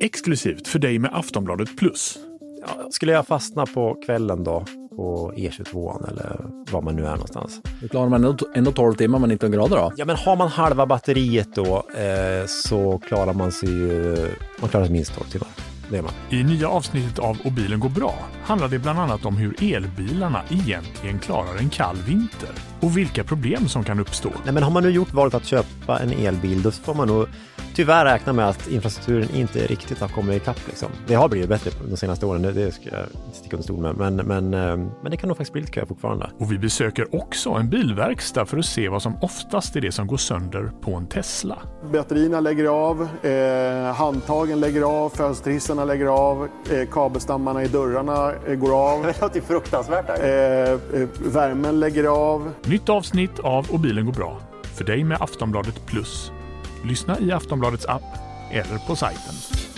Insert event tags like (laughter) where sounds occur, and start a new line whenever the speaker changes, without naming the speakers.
Exklusivt för dig med Aftonbladet Plus.
Ja, skulle jag fastna på kvällen då på E22 eller var man nu är någonstans.
Då klarar man ändå- ändå 12 timmar med 19 grader då.
Ja, men har man halva batteriet då eh, så klarar man sig ju... Man klarar sig minst 12 timmar. Det är man.
I nya avsnittet av Och bilen går bra handlar det bland annat om hur elbilarna egentligen klarar en kall vinter och vilka problem som kan uppstå.
Nej, men har man nu gjort valet att köpa en elbil då får man nog tyvärr räkna med att infrastrukturen inte riktigt har kommit ikapp. Liksom. Det har blivit bättre de senaste åren, det- det ska jag inte sticka under stol med. Men, men, eh, men det kan nog faktiskt bli lite kö fortfarande.
Och vi besöker också en bilverkstad för att se vad som oftast är det som går sönder på en Tesla.
Batterierna lägger av, eh, handtagen lägger av, fönsterhissarna lägger av, eh, kabelstammarna i dörrarna eh, går
(laughs)
av,
Det låter fruktansvärt.
eh, eh, värmen lägger av.
Nytt avsnitt av Och bilen går bra för dig med Aftonbladet Plus. Lyssna i Aftonbladets app eller på sajten.